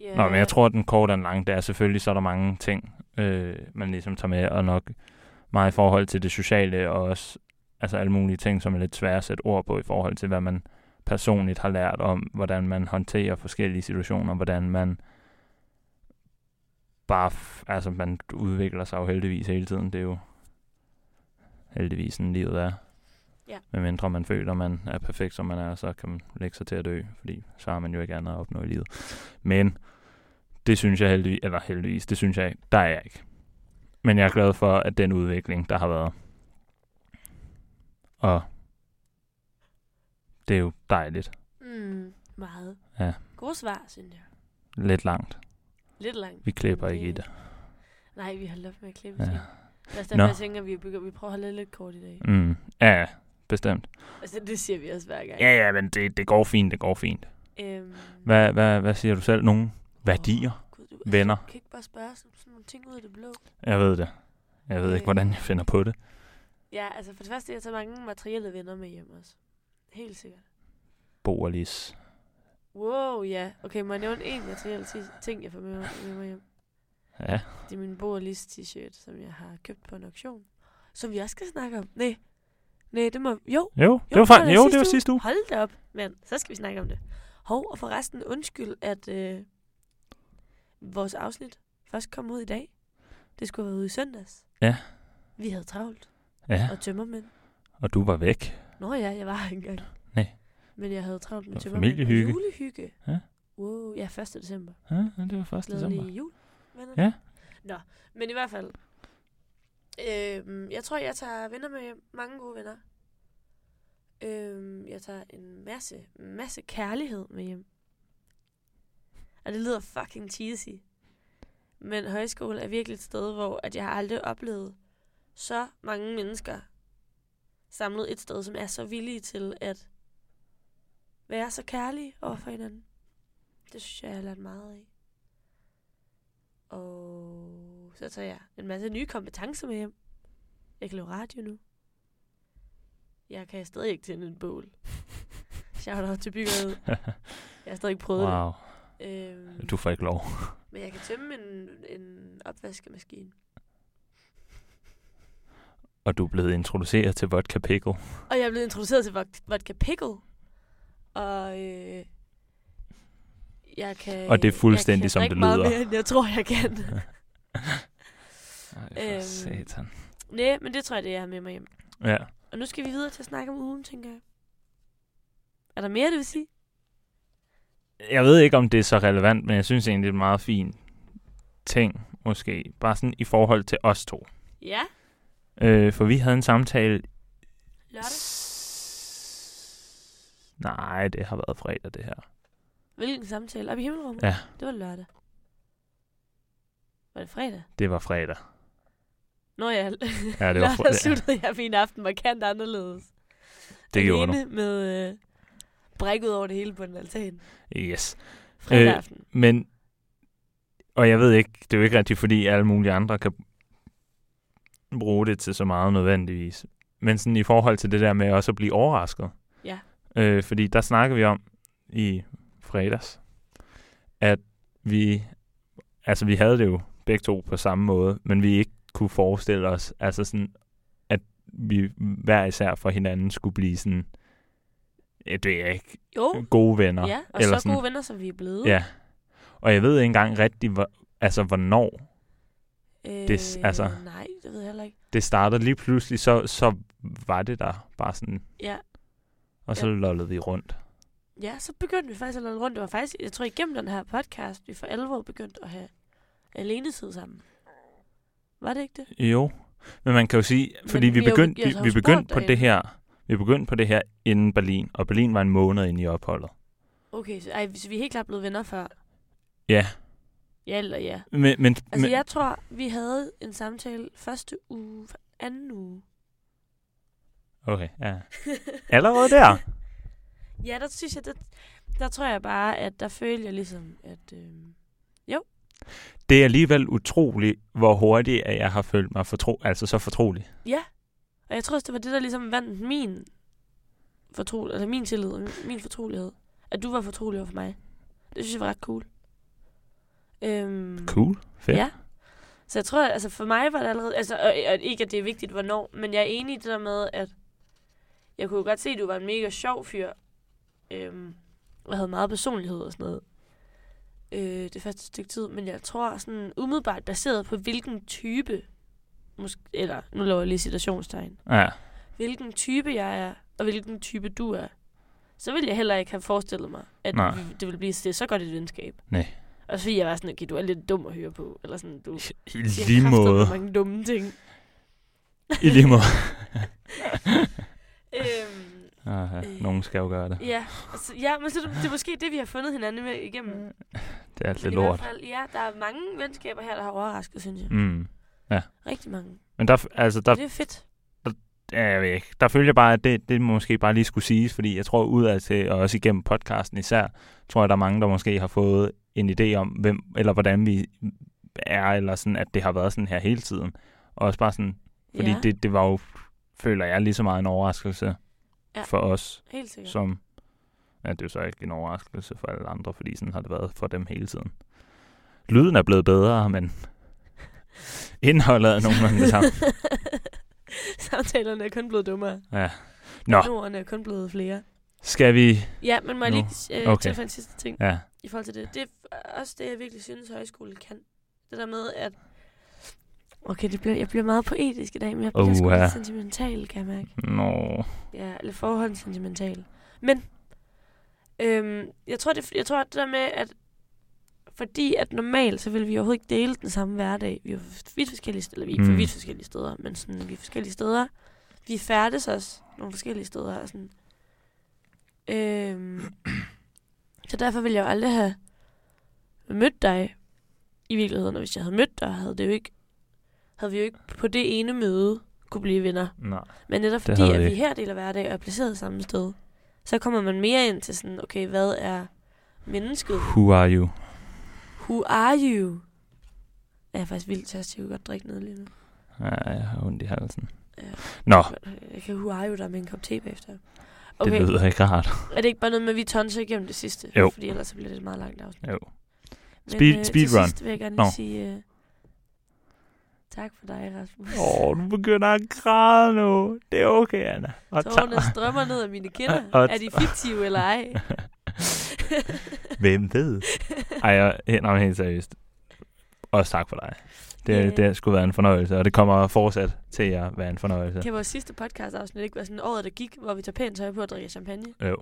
B: Ja.
A: Nå, men jeg tror, at den korte og den lange, det er selvfølgelig, så er der mange ting, øh, man ligesom tager med, og nok meget i forhold til det sociale, og også altså alle mulige ting, som er lidt svære at sætte ord på i forhold til, hvad man personligt har lært om, hvordan man håndterer forskellige situationer, hvordan man bare, f- altså man udvikler sig jo heldigvis hele tiden, det er jo heldigvis sådan livet er.
B: Ja.
A: Medmindre man føler, man er perfekt, som man er, så kan man lægge sig til at dø, fordi så har man jo ikke andet at opnå i livet. Men det synes jeg heldigvis, eller heldigvis, det synes jeg ikke, der er jeg ikke. Men jeg er glad for, at den udvikling, der har været. Og det er jo dejligt.
B: Mm. Meget.
A: Ja.
B: Gode svar, synes jeg.
A: Lidt langt.
B: Lidt langt.
A: Vi klipper
B: men
A: ikke i det.
B: Nej, vi har lov med at klippe
A: Ja.
B: ja. ting. Det er også
A: Nå.
B: derfor, jeg tænker, at vi, begynder, vi prøver at holde det lidt kort i dag.
A: Mm. Ja, ja, bestemt.
B: Altså, det siger vi også hver gang.
A: Ja, ja, men det, det går fint, det går fint.
B: Øhm,
A: Hvad, hvad, hvad siger du selv? Nogle værdier?
B: Gud, du,
A: Venner?
B: Du kan ikke bare spørge sådan sådan nogle ting ud af det blå.
A: Jeg ved det. Jeg ved ikke,
B: Øh.
A: hvordan jeg finder på det.
B: Ja, altså for det første, jeg tager mange materielle venner med hjem også. Helt sikkert.
A: Bo og Lis.
B: Wow, ja. Okay, må jeg nævne en materiel ti- ting, jeg får med, med mig hjem?
A: Ja,
B: Det er min Bo og Lis t-shirt, som jeg har købt på en auktion. Som vi også skal snakke om. Nej, Nej, det må... Jo, jo
A: Jo, jo det var, faktisk, jo, det
B: sidste
A: var
B: uge.
A: sidste uge.
B: Hold da op, mand. Så skal vi snakke om det. Hov, og forresten undskyld, at øh, vores afsnit først kom ud i dag. Det skulle have været ude i søndags.
A: Ja.
B: Vi havde travlt
A: Ja,
B: og tømmermænd.
A: og du var væk.
B: Nå ja, jeg var her ikke engang.
A: Nej.
B: Men jeg havde travlt med
A: Det var
B: tømmermænd. og
A: familiehygge.
B: Julehygge.
A: Ja.
B: Wow, ja, 1. december.
A: Ja, det var 1. december.
B: Glædelig jul. venner.
A: Ja.
B: Nå, men i hvert fald. Øhm, jeg tror, jeg tager venner med hjem. mange gode venner. Øhm, jeg tager en masse, masse kærlighed med hjem. Og det lyder fucking cheesy. Men højskole er virkelig et sted, hvor at jeg har aldrig oplevet så mange mennesker samlet et sted, som er så villige til at være så kærlige over for hinanden. Det synes jeg, jeg har lært meget af. Og så tager jeg en masse nye kompetencer med hjem. Jeg kan lave radio nu. Jeg kan stadig ikke tænde en bål. Shout out til byggeriet. Jeg har stadig ikke prøvet
A: Wow,
B: det. Øhm,
A: du får ikke lov.
B: men jeg kan tømme en, en opvaskemaskine.
A: Og du er blevet introduceret til vodka pickle.
B: Og jeg er blevet introduceret til vod- vodka pickle. Og øh, jeg kan...
A: Og det er fuldstændig,
B: jeg kan
A: som det
B: drikke meget
A: lyder.
B: Mere, end jeg tror, jeg kan.
A: Ej,
B: Øhm.
A: satan.
B: Næ, men det tror jeg, det er, jeg har med mig hjem.
A: Ja,
B: Og nu skal vi videre til at snakke om ugen, tænker jeg. Er der mere, det vil sige?
A: jeg ved ikke, om det er så relevant, men jeg synes egentlig, det er en meget fin ting, måske. Bare sådan i forhold til os to.
B: Ja.
A: Øh, for vi havde en samtale...
B: Lørdag.
A: S- Nej, det har været fredag, det her.
B: Hvilken samtale? Op i himmelrummet?
A: Ja.
B: Det var lørdag. Var det fredag?
A: Det var fredag.
B: Nå ja,
A: Ja, det var
B: lørdag
A: fredag.
B: sluttede jeg min aften markant anderledes.
A: Det gjorde du. Øh,
B: Alene med øh, bræk ud over det hele på den altan.
A: Yes.
B: Fredag
A: Øh.
B: øh. aften.
A: Men, og jeg ved ikke, det er jo ikke rigtigt, fordi alle mulige andre kan bruge det til så meget nødvendigvis. Men sådan i forhold til det der med også at blive overrasket.
B: Ja.
A: Øh, fordi der snakker vi om i fredags, at vi, altså vi havde det jo begge to på samme måde, men vi ikke kunne forestille os, altså sådan, at vi hver især for hinanden skulle blive sådan, ja, det er ikke
B: Jo,
A: gode venner.
B: Uh. ja, og
A: eller
B: så
A: sådan.
B: gode venner, som vi er blevet.
A: Ja. Og jeg ved ikke engang rigtig, hvor, altså hvornår
B: Øh,
A: det- altså-
B: Nej, det ved jeg heller ikke.
A: det startede. Lige pludselig, så, så var det der bare sådan,
B: Ja,
A: og så
B: Ja.
A: ja. lollede vi rundt.
B: ja så begyndte vi faktisk at løbe rundt. Det var faktisk, jeg tror, igennem den her podcast, vi for alvor begyndte at have alenetid sammen. Var det ikke det?
A: Jo, men man kan jo sige, fordi
B: vi
A: vi
B: har jo-
A: begyndte,
B: vi har
A: vi,
B: så
A: vi
B: spurgt
A: begyndte på
B: derinde.
A: det her, vi begyndte på det her inden Berlin, og Berlin var en måned inde i opholdet.
B: Okay, så, ej, så vi er helt klart blevet venner før.
A: Ja.
B: Ja eller ja.
A: Men, men,
B: Altså,
A: men
B: men... jeg tror, vi havde en samtale første uge, anden uge.
A: okay, ja. Allerede der?
B: Ja, der synes jeg, der, der tror jeg bare, at der følte jeg ligesom, at... Øh,
A: Det er alligevel utroligt, hvor hurtigt at jeg har følt mig fortro, altså så fortrolig.
B: ja. Og jeg tror også, det var det, der ligesom vandt min, fortro, altså min tillid, og min- min fortrolighed. At du var fortrolig over for mig. Det synes jeg var ret cool. Øhm,
A: Cool. Fedt.
B: Ja. Så jeg tror, altså for mig var det allerede, altså og, og ikke at det er vigtigt hvornår, men jeg er enig i det der med, at jeg kunne jo godt se, at du var en mega sjov fyr, øhm, og havde meget personlighed og sådan noget. Øh, det første stykke tid, men jeg tror sådan umiddelbart baseret på hvilken type, måske, eller nu laver jeg lige citationstegn,
A: Ja.
B: hvilken type jeg er, og hvilken type du er, så ville jeg heller ikke have forestillet mig, at
A: Nej.
B: vi- det ville blive til så godt et venskab.
A: Nej.
B: Også fordi jeg var sådan, okay, du er lidt dum at høre på, eller sådan, du
A: I
B: siger
A: lige
B: kraftedeme
A: måde.
B: mange dumme ting.
A: I lige måde.
B: Øhm,
A: Aha, nogen skal jo gøre det.
B: ja, altså, ja, men så er det, det er måske det, vi har fundet hinanden med igennem. Men
A: Det er altid
B: i
A: Mm. lort.
B: hvert fald, ja, der er mange venskaber her, der har overrasket, synes jeg.
A: Mm.
B: Rigtig mange.
A: Men der, altså, der,
B: Så det er fedt.
A: Ja, jeg ved ikke. Der følte jeg bare, at det, det måske bare lige skulle siges, fordi jeg tror udad til, og også igennem podcasten især, tror jeg, der er mange, der måske har fået en idé om, hvem eller hvordan vi er, eller sådan, at det har været sådan her hele tiden. Og også bare sådan, fordi
B: ja,
A: ja. det, det var jo, føler jeg, lige så meget en overraskelse
B: Ja.
A: ja. for os,
B: helt
A: ja.
B: sikkert.
A: som, ja, det er jo så ikke en overraskelse for alle andre, fordi sådan har det været for dem hele tiden. Lyden er blevet bedre, men indholdet er nogenlunde det samme.
B: så samtalerne er kun blevet dummere.
A: Ja. Nå.
B: Nå. Ordene er kun blevet flere.
A: Skal vi...
B: Ja, men må jeg
A: Nå.
B: lige øh, okay.
A: Okay.
B: tilføje en sidste ting
A: Ja,
B: i forhold til det. Det er f- også det, jeg virkelig synes, højskolen kan. Det der med, at... Okay, det bliver, jeg bliver meget poetisk i dag, men jeg bliver sgu
A: Uha.
B: lidt sentimental, kan jeg mærke.
A: nå...
B: Ja, eller forhånd sentimental. Men øhm, jeg, tror, det, jeg tror, at det der med, at fordi at normalt, så vil vi overhovedet ikke dele den samme hverdag. Vi er jo vidt forskellige steder, eller vi er ikke mm.
A: Mm.
B: vidt forskellige steder, men sådan, vi er forskellige steder. Vi færdes også nogle forskellige steder. Og sådan. Øhm, så derfor ville jeg jo aldrig have mødt dig i virkeligheden, og hvis jeg havde mødt dig, havde, det jo ikke, havde vi jo ikke på det ene møde kunne blive venner.
A: Nej.
B: Men netop
A: Det
B: fordi,
A: havde
B: at
A: vi
B: vi
A: ikke.
B: her deler hverdag og er placeret samme sted, så kommer man mere ind til sådan, okay, hvad er mennesket?
A: Who are you?
B: Who are you? Jeg er faktisk vildt tørst, jeg kunne godt drikke noget lige nu.
A: Ja, jeg har ondt i halsen.
B: Ja.
A: Nå,
B: Jeg kan who are you der med en kop te bagefter.
A: det
B: Okay,
A: lyder ikke rart.
B: er det ikke bare noget med, at vi tonser igennem det sidste?
A: Jo.
B: Fordi ellers så bliver det et meget langt afsnit.
A: Jo.
B: Men,
A: Speed-
B: øh,
A: speedrun.
B: Til sidst vil jeg gerne
A: Nå.
B: lige sige øh, tak for dig, Rasmus.
A: Åh, oh, du begynder at græde nu. Det er okay, Anna. Og
B: Tårerne strømmer ned af mine kinder.
A: Og-
B: Er de fiktive eller ej?
A: Hvem ved? Ej, jeg, helt, nej, men helt seriøst. Også tak for dig. Det,
B: Ja.
A: yeah. det har sgu været en fornøjelse, og det kommer fortsat til at være en fornøjelse.
B: Kan vores sidste podcast-afsnit ikke være sådan året, der gik, hvor vi tager pænt tøj på og drikker champagne?
A: Jo.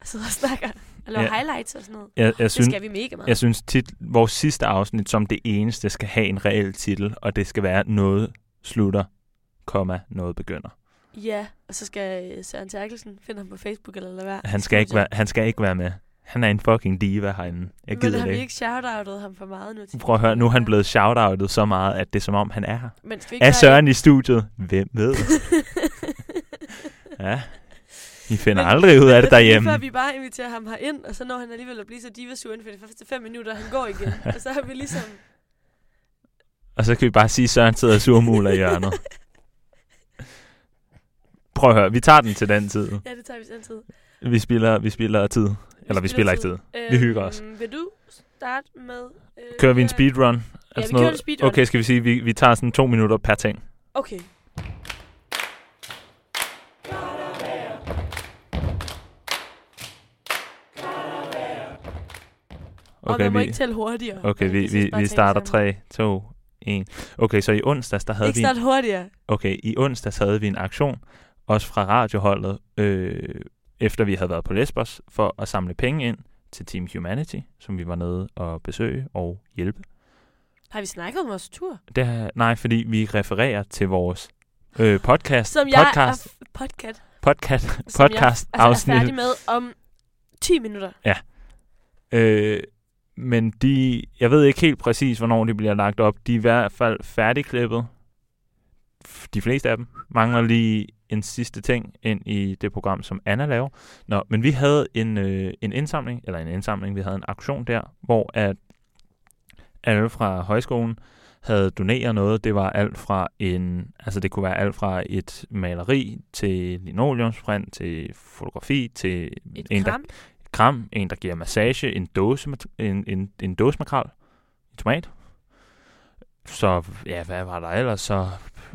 B: Og sidder og snakker og laver
A: Ja.
B: ja. highlights og sådan noget.
A: Jeg, jeg,
B: Synes,
A: synes,
B: det skal vi mega meget.
A: jeg synes tit, vores sidste afsnit som det eneste skal have en reel titel, og det skal være noget slutter, komma, noget begynder.
B: Ja, og så skal øh, Søren Terkelsen finde ham på Facebook eller lade være.
A: Han skal, ikke være, han skal ikke være med. Han er en fucking diva herinde. Jeg
B: Men
A: gider
B: har
A: det
B: vi
A: ikke.
B: ikke shoutoutet ham for meget nu? til-
A: Prøv at høre, nu er han blevet shoutoutet så meget, at det er som om, han er her.
B: Men skal vi
A: Er
B: gøre
A: Søren i studiet? Hvem ved? Ja, I finder
B: Men-
A: aldrig ud af det
B: Men
A: derhjemme.
B: Før vi bare inviterer ham herind, og så når han alligevel at blive så divasur inden for de første fem minutter, han går igen. og så har vi ligesom...
A: Og så kan vi bare sige, at Søren sidder og surmuler i hjørnet. Prøv at høre, vi tager den til den tid.
B: Ja, det tager vi sådan tid.
A: Vi spiller, vi spiller tid. Eller vi spiller ikke tid. Vi hygger os.
B: Øhm, Vil du starte med... Øh,
A: Kører vi en speedrun? Er
B: Ja,
A: det
B: vi
A: sådan
B: kører
A: noget?
B: en speedrun.
A: Okay, skal vi sige, at vi, vi tager sådan to minutter per ting.
B: Okay. Okay, og
A: Okay,
B: man må
A: vi,
B: ikke tælle hurtigere.
A: okay, vi,
B: Jeg synes
A: vi,
B: bare,
A: vi
B: at
A: starter
B: tale sammen.
A: 3, 2, 1. Okay, så i onsdags, der havde
B: Ikke
A: vi...
B: starte hurtigere.
A: Okay, i onsdags havde vi en aktion, også fra radioholdet, øh, efter vi havde været på Lesbos, for at samle penge ind til Team Humanity, som vi var nede og besøge og hjælpe.
B: Har vi snakket om vores tur?
A: Det her, nej, fordi vi refererer til vores øh, podcast,
B: Som jeg er,
A: podcast,
B: f- podcast,
A: podcast,
B: som
A: podcast
B: jeg, altså, er
A: afsnit.
B: færdig med om 10 minutter.
A: Øh, men de, jeg ved ikke helt præcis, hvornår de bliver lagt op. De er i hvert fald færdigklippet. F- De fleste af dem mangler lige en sidste ting ind i det program, som Anna laver. Nå, men vi havde en, øh, en indsamling, eller en indsamling, vi havde en aktion der, hvor at alle fra højskolen havde doneret noget. Det var alt fra en, altså det kunne være alt fra et maleri til linoleumsprint, til fotografi, til
B: Et
A: en, der
B: kram.
A: kram, en, der giver massage, en dåse, en, en, en dåse makral, en tomat. Så ja, hvad var der ellers? Så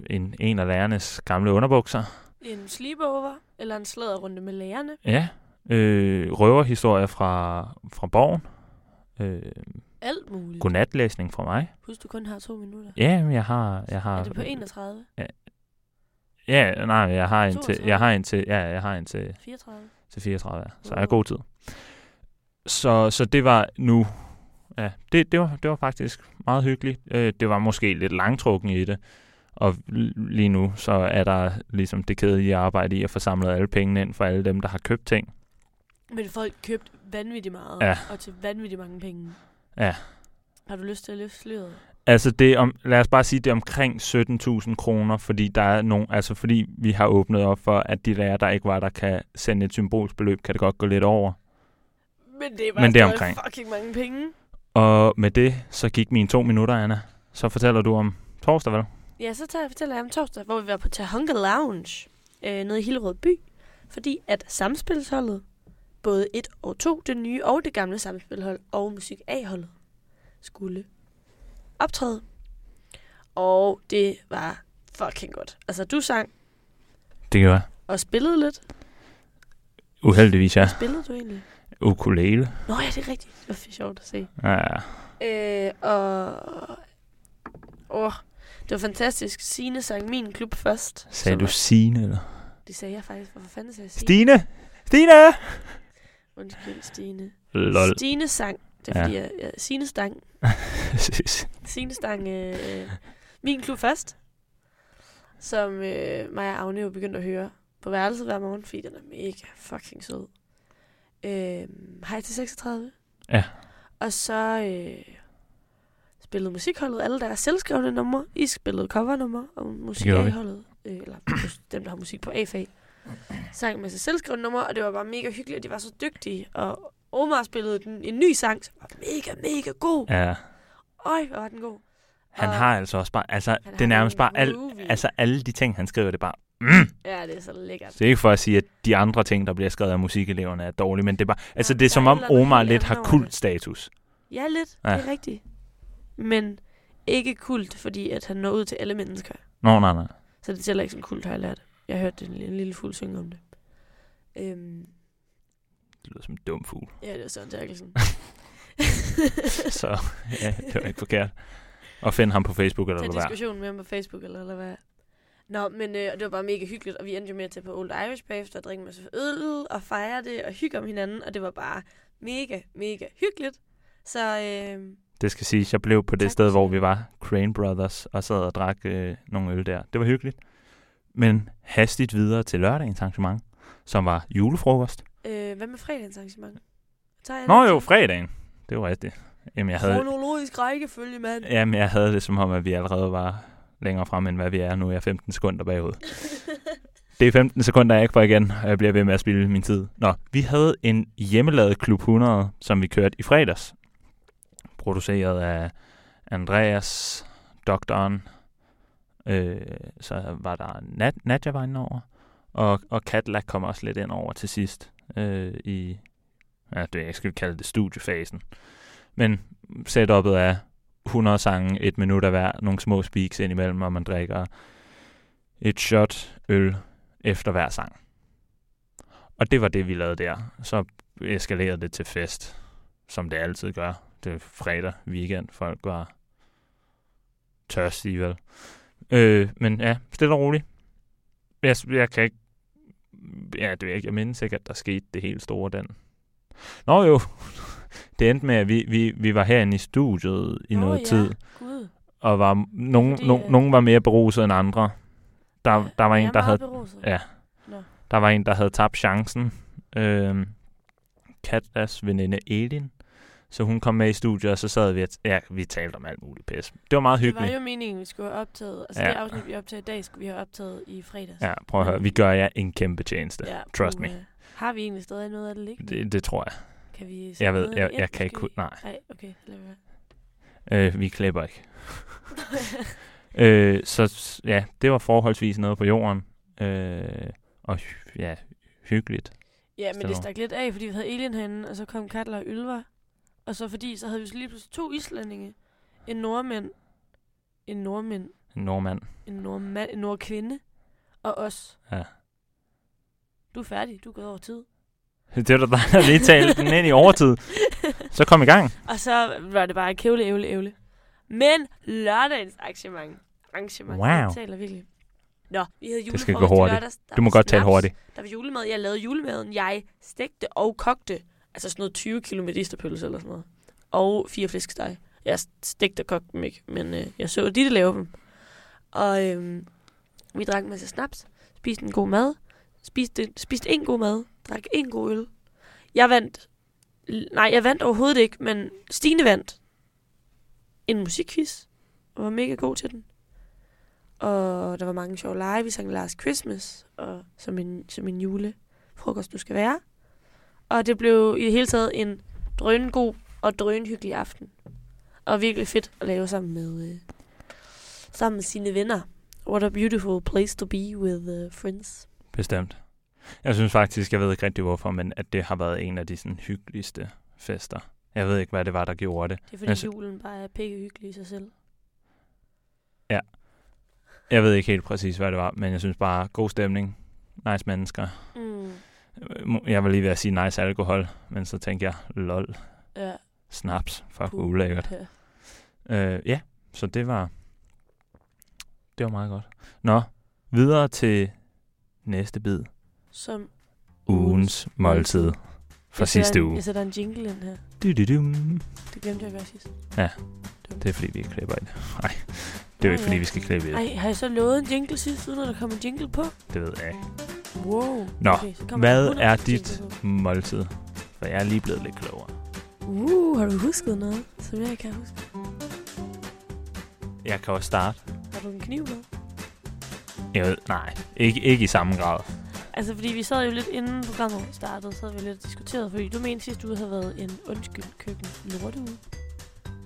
A: en, en af lærernes gamle underbukser.
B: En sleepover, eller en slæderrunde med lærerne.
A: Ja, øh, røverhistorier fra, fra borgen. Øh,
B: Alt muligt.
A: godnatlæsning fra mig.
B: Husk, du kun har to minutter.
A: Ja, men jeg har... Jeg har
B: Er det på 31?
A: Ja, nej, jeg har en til...
B: 32?
A: Jeg har en til, ja, jeg har en til,
B: 34?
A: til 34, ja. så
B: Wow.
A: jeg har god tid. Så, så det var nu... Ja, det, det, var, det var faktisk meget hyggeligt. Øh, det var måske lidt langtrukken i det, og l- lige nu så er der ligesom det kedelige arbejde i at få samlet alle pengene ind for alle dem, der har købt ting.
B: Men folk købte vanvittigt meget,
A: Ja.
B: og til vanvittigt mange penge.
A: Ja.
B: Har du lyst til at løfte sløret?
A: Altså det er om, lad os bare sige, det er omkring 17.000 kroner, fordi der er nogen, altså fordi vi har åbnet op for, at de lærere, der ikke var der, kan sende et symbolsbeløb, kan det godt gå lidt over.
B: Men det er bare
A: Men det er
B: stadig
A: omkring.
B: fucking mange penge.
A: Og med det, så gik mine to minutter, Anna. Så fortæller du om torsdag, vel?
B: Ja, så tager jeg fortæller jeg om torsdag, hvor vi var på Tahunga Lounge øh, nede i Hillerød by. Fordi at samspilsholdet, både 1 og 2, det nye og det gamle samspilhold og musik A-holdet, skulle optræde. Og det var fucking godt. Altså, du sang,
A: Det gjorde jeg.
B: Og spillede lidt.
A: Uheldigvis, ja.
B: Spillede du egentlig?
A: Ukulele.
B: Nå ja, det er rigtigt. Det var sjovt at se.
A: Ja, ja.
B: Øh, og... Åh, det var fantastisk. Sine sang min klub først.
A: Sagde
B: som
A: du
B: er-
A: Signe, eller?
B: Det sagde jeg faktisk. Hvorfor fanden sagde jeg Stine?
A: Stine! Stine!
B: Undskyld, Stine.
A: Lol.
B: Stine sang. Det er
A: Ja.
B: fordi, jeg, jeg, Sine stang.
A: Præcis.
B: Sine stang øh, øh, min klub først. Som øh, mig og Agne jo begyndte at høre på værelset hver morgen, fordi den er mega fucking sød. Øh, hej til 36.
A: Ja.
B: Og så øh, spillede musikholdet alle deres selvskrevne numre. I spillede covernumre, og musik
A: gjorde vi.
B: A-holdet, øh, eller dem, der har musik på A-fag, sang en masse selvskrevne numre, og det var bare mega hyggeligt, og de var så dygtige. Og Omar spillede den, en ny sang, som var mega, mega god.
A: Ja.
B: Øj, hvor var den god.
A: Han
B: Og-
A: har altså også bare, altså, det
B: Han
A: er
B: har
A: nærmest
B: nogle
A: bare alt,
B: groovy-
A: altså alle de ting, han skriver, det er bare, mm.
B: Ja, det er så lækkert.
A: Så det er ikke for at sige, at de andre ting, der bliver skrevet af musikeleverne, er dårlige, men det er bare, altså
B: Ja,
A: det er
B: der
A: som
B: er
A: om
B: et eller andet
A: Omar
B: helt
A: lidt
B: andet
A: har
B: over det.
A: kultstatus.
B: Ja, lidt.
A: Ja.
B: Ja. Det er rigtigt. Men ikke kult, fordi at han når ud til alle mennesker.
A: Nå, nej, nej.
B: Så det tæller ikke som kult, har jeg lært. Jeg hørte en, en lille fugl synge om det. Øhm,
A: Det lyder som en dum fugl.
B: ja, det var Søren Terkelsen.
A: Så ja, det var ikke forkert. Og find ham på Facebook eller
B: Tag
A: hvad der.
B: diskussionen med ham på Facebook, eller, eller hvad. Nå, men øh, og det var bare mega hyggeligt, og vi endte jo med at tage på Old Irish bagefter og drikke en masse øl og fejre det og hygge om hinanden, og det var bare mega, mega hyggeligt. Så øh,
A: Det skal siges, jeg blev på det
B: Tak.
A: sted, hvor vi var, Crane Brothers, og sad og drak øh, nogle øl der. Det var hyggeligt. Men hastigt videre til lørdagens arrangement, som var julefrokost.
B: øh, hvad med fredagens arrangement? Tager jeg
A: Nå
B: den
A: jo,
B: til?
A: fredagen. Det var rigtigt. Jamen jeg, havde,
B: Kronologisk rækkefølge, mand.
A: jamen, jeg havde det som om, at vi allerede var længere frem, end hvad vi er nu. Jeg er 15 sekunder bagud. Det er 15 sekunder, jeg ikke får igen, og jeg bliver ved med at spille min tid. Nå, vi havde en hjemmelavet Klub 100, som vi kørte i fredags. Produceret af Andreas, Doktoren, øh, så var der Nat Nadja var inde over, og, og Cadillac kom også lidt ind over til sidst øh, i, ja, det, jeg skal kalde det studiefasen. Men setupet er 100 sange, et minut af hver, nogle små speaks indimellem, og man drikker et shot øl efter hver sang. Og det var det, vi lavede der. Så eskalerede det til fest, som det altid gør. Det er fredag, weekend, folk var tørstige vel. Øh, men ja, stille og roligt. Jeg, jeg kan ikke... Ja, det ved jeg ikke. Jeg mindes ikke, at der skete det helt store den. Nå jo, det endte med, at vi, vi, vi var herinde i studiet i
B: Nå
A: noget
B: ja.
A: tid
B: Gud.
A: og var nogen,
B: Fordi,
A: nogen,
B: øh,
A: nogen var mere beruset end andre. Der, der var
B: Jeg
A: en,
B: er
A: der
B: meget
A: havde
B: beruset.
A: ja.
B: Nå.
A: der var en der havde tabt chancen. Øhm, Katlas veninde Elin. Så hun kom med i studiet, og så sad vi og ja, vi talte om alt muligt pis. Det var meget
B: Det var
A: hyggeligt.
B: jo meningen, vi skulle have optaget. Altså
A: Ja.
B: ja. det afsnit, vi optager i dag, skulle vi have optaget i fredags.
A: Ja, prøv at høre. Vi gør jer en kæmpe tjeneste.
B: ja
A: Trust me.
B: puha. Har vi egentlig stadig noget af det liggende?
A: Det, det tror jeg.
B: Kan vi sætte
A: Jeg ved,
B: noget
A: jeg,
B: ind,
A: jeg kan ikke...
B: måske?
A: ku- Nej,
B: Nej, okay, lad være.
A: øh, vi klipper ikke. Øh, så s- ja, det var forholdsvis noget på jorden. Øh, og hy- ja, hyggeligt.
B: ja, men
A: Stille
B: det
A: over.
B: stak lidt af, fordi vi havde Alien herinde, og så kom Katla og Ylva. Og så fordi, så havde vi så lige pludselig to islændinge. En nordmænd, en nordmænd,
A: En nordmand.
B: en nordmand, en nordkvinde, og os.
A: Ja.
B: Du er færdig, du er gået over tid.
A: Det var da dig, der lige talte den ind i overtid. Så kom i gang.
B: Og så var det bare kævle, ævle, ævle. Men lørdagens arrangement. Arrangement.
A: Wow.
B: Jeg taler virkelig. Nå, vi havde julefrokost
A: Det skal gå
B: i
A: hurtigt.
B: Lørdags. Der
A: Du må
B: var
A: godt tale
B: snaps,
A: hurtigt.
B: Der var julemad. Jeg lavede julemaden. Jeg stegte og kogte. Altså sådan noget 20 km isterpølse eller sådan noget. Og fire flæskesteg. Jeg stegte og kogte dem ikke, men øh, jeg så de, der lavede dem. Og øhm, vi drak en masse snaps. Spiste en god mad. Spiste, spiste en god mad. Drak en god øl. Jeg vandt. l- Nej, jeg vandt overhovedet ikke, men Stine vandt en musikquiz. Og var mega god til den. Og der var mange sjove lege. Vi sang Last Christmas, og som en, som en julefrokost, du skal være. Og det blev i det hele taget en drøngod og drønhyggelig aften. Og virkelig fedt at lave sammen med, øh, sammen med sine venner. What a beautiful place to be with uh, friends.
A: Bestemt. Jeg synes faktisk, jeg ved ikke rigtig hvorfor, men at det har været en af de sådan, hyggeligste fester. Jeg ved ikke, hvad det var, der gjorde det.
B: Det er fordi
A: Altså-
B: altså, julen bare er pikkehyggelig i sig selv.
A: Jeg ved ikke helt præcis, hvad det var, men jeg synes bare, god stemning, nice mennesker.
B: Mm.
A: Øh, Jeg var lige ved at sige nice alkohol, men så tænkte jeg, lol,
B: Ja.
A: snaps, fuck,
B: Puh.
A: hvor ulækkert.
B: Ja.
A: Øh, ja, så det var, det var meget godt. Nå, videre til næste bid.
B: Som
A: Ugens måltid fra
B: jeg sætter
A: sidste
B: en-
A: uge.
B: Jeg sætter en jingle ind her.
A: Du-du-dum.
B: Det glemte jeg at gøre sidst.
A: Det er fordi, vi ikke klipper i det. Nej, det er jo ikke fordi, vi skal klippe i det.
B: Ej, har jeg så lovet en jingle sidst, uden at der kom en jingle på?
A: Det ved jeg ikke.
B: Wow.
A: Nå,
B: så kommer der
A: Hvad
B: 100
A: er
B: jingle
A: dit
B: på.
A: måltid? For jeg er lige blevet lidt klogere.
B: Uh, har du husket noget, som jeg ikke kan huske?
A: Jeg kan også starte.
B: Har du en kniv med?
A: Jeg ved, nej, ikke, ikke i samme grad.
B: Altså, fordi vi sad jo lidt inden programmet startede, så havde vi lidt diskuteret, fordi du mente sidst, du havde været en undskyld køkken lorteuge.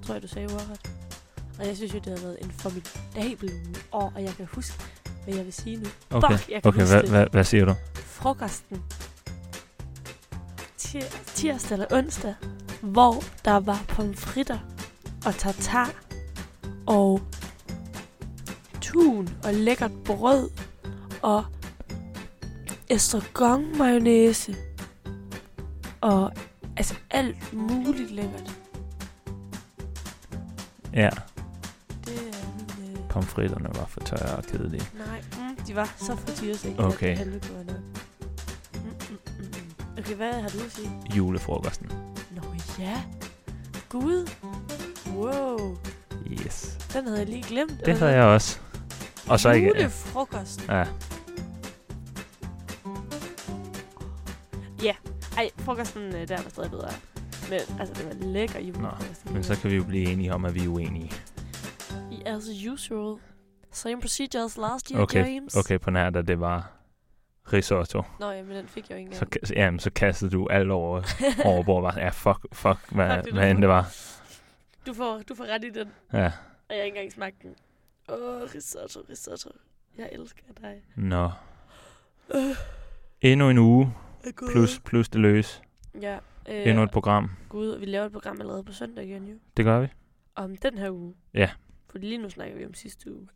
B: Tror jeg, du sagde ordret. Og jeg synes jo, det havde været en formidabel uge, og og jeg kan huske, hvad jeg vil sige nu.
A: Okay,
B: Fuck, jeg kan
A: okay
B: huske
A: hvad,
B: det.
A: hvad, hvad siger du?
B: Frokosten. Tir- tirsdag eller onsdag, hvor der var pomfritter og tartar og tun og lækkert brød og estragon mayonnaise og altså alt muligt lækkert.
A: Ja,
B: Det er min, øh,
A: pomfritterne var for tørre og kedelige.
B: nej, mm, de var så frityres ikke.
A: Okay.
B: at det var nok. Mm, mm, mm, mm. Okay, hvad har du at sige?
A: Julefrokosten.
B: Nå ja. Gud. Wow.
A: Yes.
B: Den havde jeg lige glemt.
A: Det havde jeg også. Og så ikke...
B: Julefrokost.
A: Ja,
B: Ej, frokosten øh, der var stadig bedre. Men altså, det var lækker julefrokost.
A: men så kan vi jo blive enige om, at vi er uenige.
B: I As usual. Same procedure as last year,
A: Okay,
B: James.
A: okay på nær, da det var risotto.
B: Nå ja, men den fik jeg jo ikke
A: Så,
B: engang.
A: ka- jamen, så kastede du alt over, over bord. Bare, ja, fuck, fuck, hvad,
B: Fuck, det er
A: hvad end det var.
B: Du får, du får ret i den,
A: Ja.
B: og jeg har ikke engang smagt den. Åh, oh, risotto, risotto. Jeg elsker dig.
A: Nå.
B: Øh,
A: Endnu en uge,
B: er gået.
A: plus, plus det løs.
B: Ja. Øh,
A: Endnu et program.
B: Gud, og vi laver et program allerede på søndag igen, jo.
A: Det gør vi.
B: Om den her uge.
A: Ja.
B: Fordi lige nu snakker vi om sidste uge.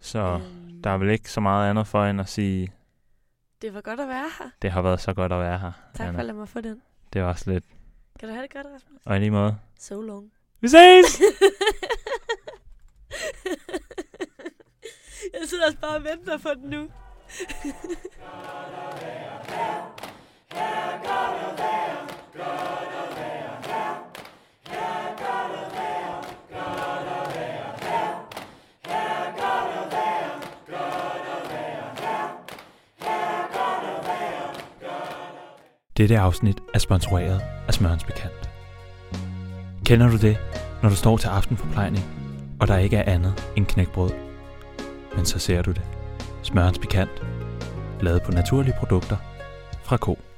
A: Så
B: Øhm,
A: der er vel ikke så meget andet for end at sige,
B: Det var godt at være her.
A: det har været så godt at være her.
B: Tak for at lade mig få den.
A: Det er også lidt.
B: Kan du have det godt, Rasmus?
A: Og i lige måde.
B: So long.
A: Vi ses!
B: Jeg sidder også bare og venter på den nu.
A: Dette afsnit er sponsoreret af Smørens Bekant. Kender du det, når du står til aftenforplejning, og der ikke er andet end knækbrød? Men så ser du det. Smørens Bekant. Lavet på naturlige produkter fra ko.